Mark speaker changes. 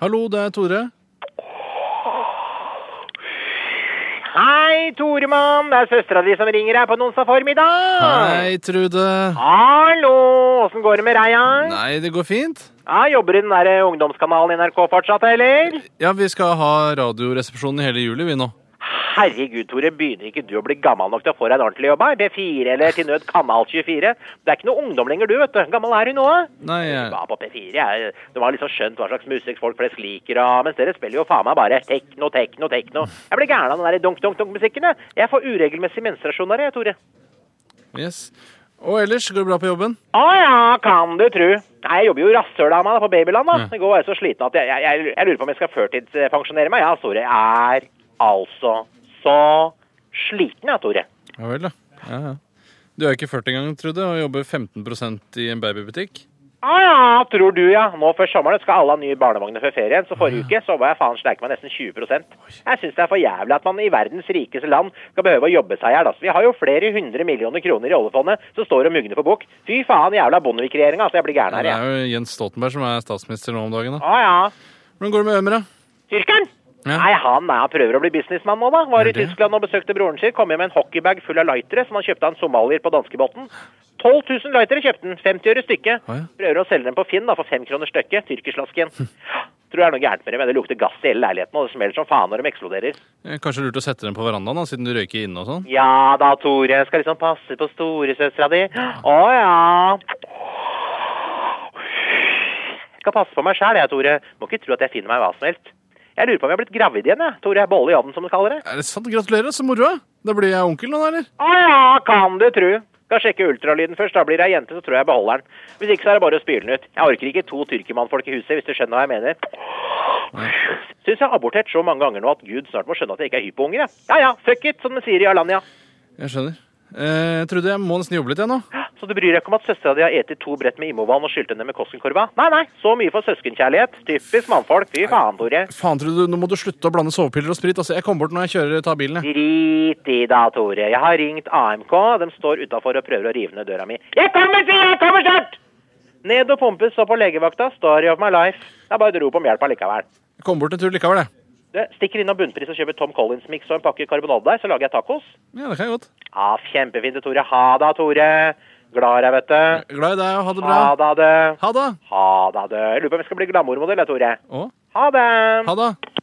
Speaker 1: Hallo, det er Tore.
Speaker 2: Hei, Toremann. Det er søstera di som ringer her på en onsdag formiddag.
Speaker 1: Hei, Trude.
Speaker 2: Hallo. Åssen går det med reia?
Speaker 1: Nei, det går fint.
Speaker 2: Ja, jobber du i den der eh, ungdomskanalen i NRK fortsatt, eller?
Speaker 1: Ja, vi skal ha Radioresepsjonen i hele juli, vi nå.
Speaker 2: Herregud, Tore. Begynner ikke du å bli gammel nok til å få deg en ordentlig jobb her? P4 eller til nød Kanal 24? Det er ikke noe ungdom lenger, du, vet du. Gammel er du nå?
Speaker 1: Nei, eh, jeg-
Speaker 2: Ja, på P4. Jeg, det var liksom skjønt hva slags musikk folk flest liker, og, mens dere spiller jo faen meg bare tekno, tekno, tekno. Jeg blir gæren av den der dunk-dunk-dunk-musikken, jeg. Jeg får uregelmessig menstruasjon der, jeg, Tore.
Speaker 1: yes. Og ellers, går det bra på jobben?
Speaker 2: Å ja, kan du tru. Nei, jeg jobber jo rasshøl av meg da, på Babyland, da. I går var jeg så sliten at jeg, jeg, jeg, jeg lurer på om jeg skal førtidspensjonere meg. Ja, Tore, jeg er altså så sliten, ja, Tore.
Speaker 1: Ja vel, da. Ja, ja. Du er jo ikke 40 engang, Trude, og jobber 15 i en babybutikk.
Speaker 2: Å ja, tror du, ja. Nå før sommeren skal alle ha nye barnevogner før ferien, så forrige uke så var jeg faen sterk med nesten 20 Jeg syns det er for jævlig at man i verdens rikeste land skal behøve å jobbe seg i hjel. Altså. Vi har jo flere hundre millioner kroner i oljefondet som står og mugner på bukk. Fy faen, jævla Bondevik-regjeringa. Altså, jeg blir gæren
Speaker 1: Ja,
Speaker 2: her,
Speaker 1: det
Speaker 2: jeg.
Speaker 1: er jo Jens Stoltenberg som er statsminister nå om dagen. da.
Speaker 2: Å ja.
Speaker 1: Hvordan går det med Ømer, da?
Speaker 2: Tyrkeren?
Speaker 1: Ja.
Speaker 2: Nei, han, nei, han prøver å bli businessmann nå, da. Var
Speaker 1: Er
Speaker 2: i
Speaker 1: det?
Speaker 2: Tyskland og besøkte broren sin. Kom hjem med en hockeybag full av lightere som han kjøpte av en somalier på danskebåten. 12 000 lightere kjøpte han. 50 øre stykket.
Speaker 1: Å, ja.
Speaker 2: Prøver å selge dem på Finn da, for fem kroner stykket. Tyrkerslasken. Tror det er noe gærent med dem. men Det lukter gass i hele leiligheten, og det smeller som faen når de eksploderer.
Speaker 1: Eh, Kanskje lurt å sette den på verandaen, da, siden du røyker inne og sånn?
Speaker 2: Ja da, Tore. Skal liksom passe på storesøstera di. Å ja. Skal passe på meg sjæl, jeg, Tore. Må ikke tro at jeg finner meg hva som helst. Jeg lurer på om jeg har blitt gravid igjen, jeg. Tore. Bolle i ovnen, som de kaller det.
Speaker 1: Er det sant? Gratulerer, så moro. da. Da blir jeg onkel nå, da, eller?
Speaker 2: Å ja, kan du tru. Skal sjekke ultralyden først. Da blir det ei jente, så tror jeg jeg beholder den. Hvis ikke, så er det bare å spyle den ut. Jeg orker ikke to tyrkermannfolk i huset, hvis du skjønner hva jeg mener. Syns jeg har abortert så mange ganger nå at Gud snart må skjønne at jeg ikke er hypohunger, jeg. Ja ja, fuck it, som de sier i Alanya.
Speaker 1: Jeg skjønner. Eh, Trude, jeg må nesten jobbe litt, jeg nå.
Speaker 2: Så du bryr deg ikke om at søstera di har etet to brett med Imovann og skylte henne med Koskenkorva? Nei, nei, så mye for søskenkjærlighet. Typisk mannfolk. Fy faen, Tore.
Speaker 1: Faen, Trude, nå må du slutte å blande sovepiller og sprit. Altså, jeg kommer bort når jeg kjører tar bilen. jeg.
Speaker 2: Drit i da, Tore. Jeg har ringt AMK. De står utafor og prøver å rive ned døra mi. Jeg kommer, sier jeg! Jeg Kommer snart! Ned og pumpes, og på legevakta. Story of my life. Det er bare et rop om hjelp allikevel.
Speaker 1: Jeg kommer bort en tur likevel, jeg.
Speaker 2: Du, stikker innom Bunnpris og kjøper Tom Collins-miks og en pakke karbonadedeig, så lager jeg tacos.
Speaker 1: Ja, det kan jeg godt.
Speaker 2: Ja, kjempefint, Tore. Ha da, Tore. Glad i deg, vet du.
Speaker 1: Glad i deg, og ha det bra.
Speaker 2: Ha da, du.
Speaker 1: Ha det.
Speaker 2: Ha da, du. Jeg lurer på om jeg skal bli glamourmodell, jeg, Tore.
Speaker 1: Å,
Speaker 2: Ha det!
Speaker 1: ha det.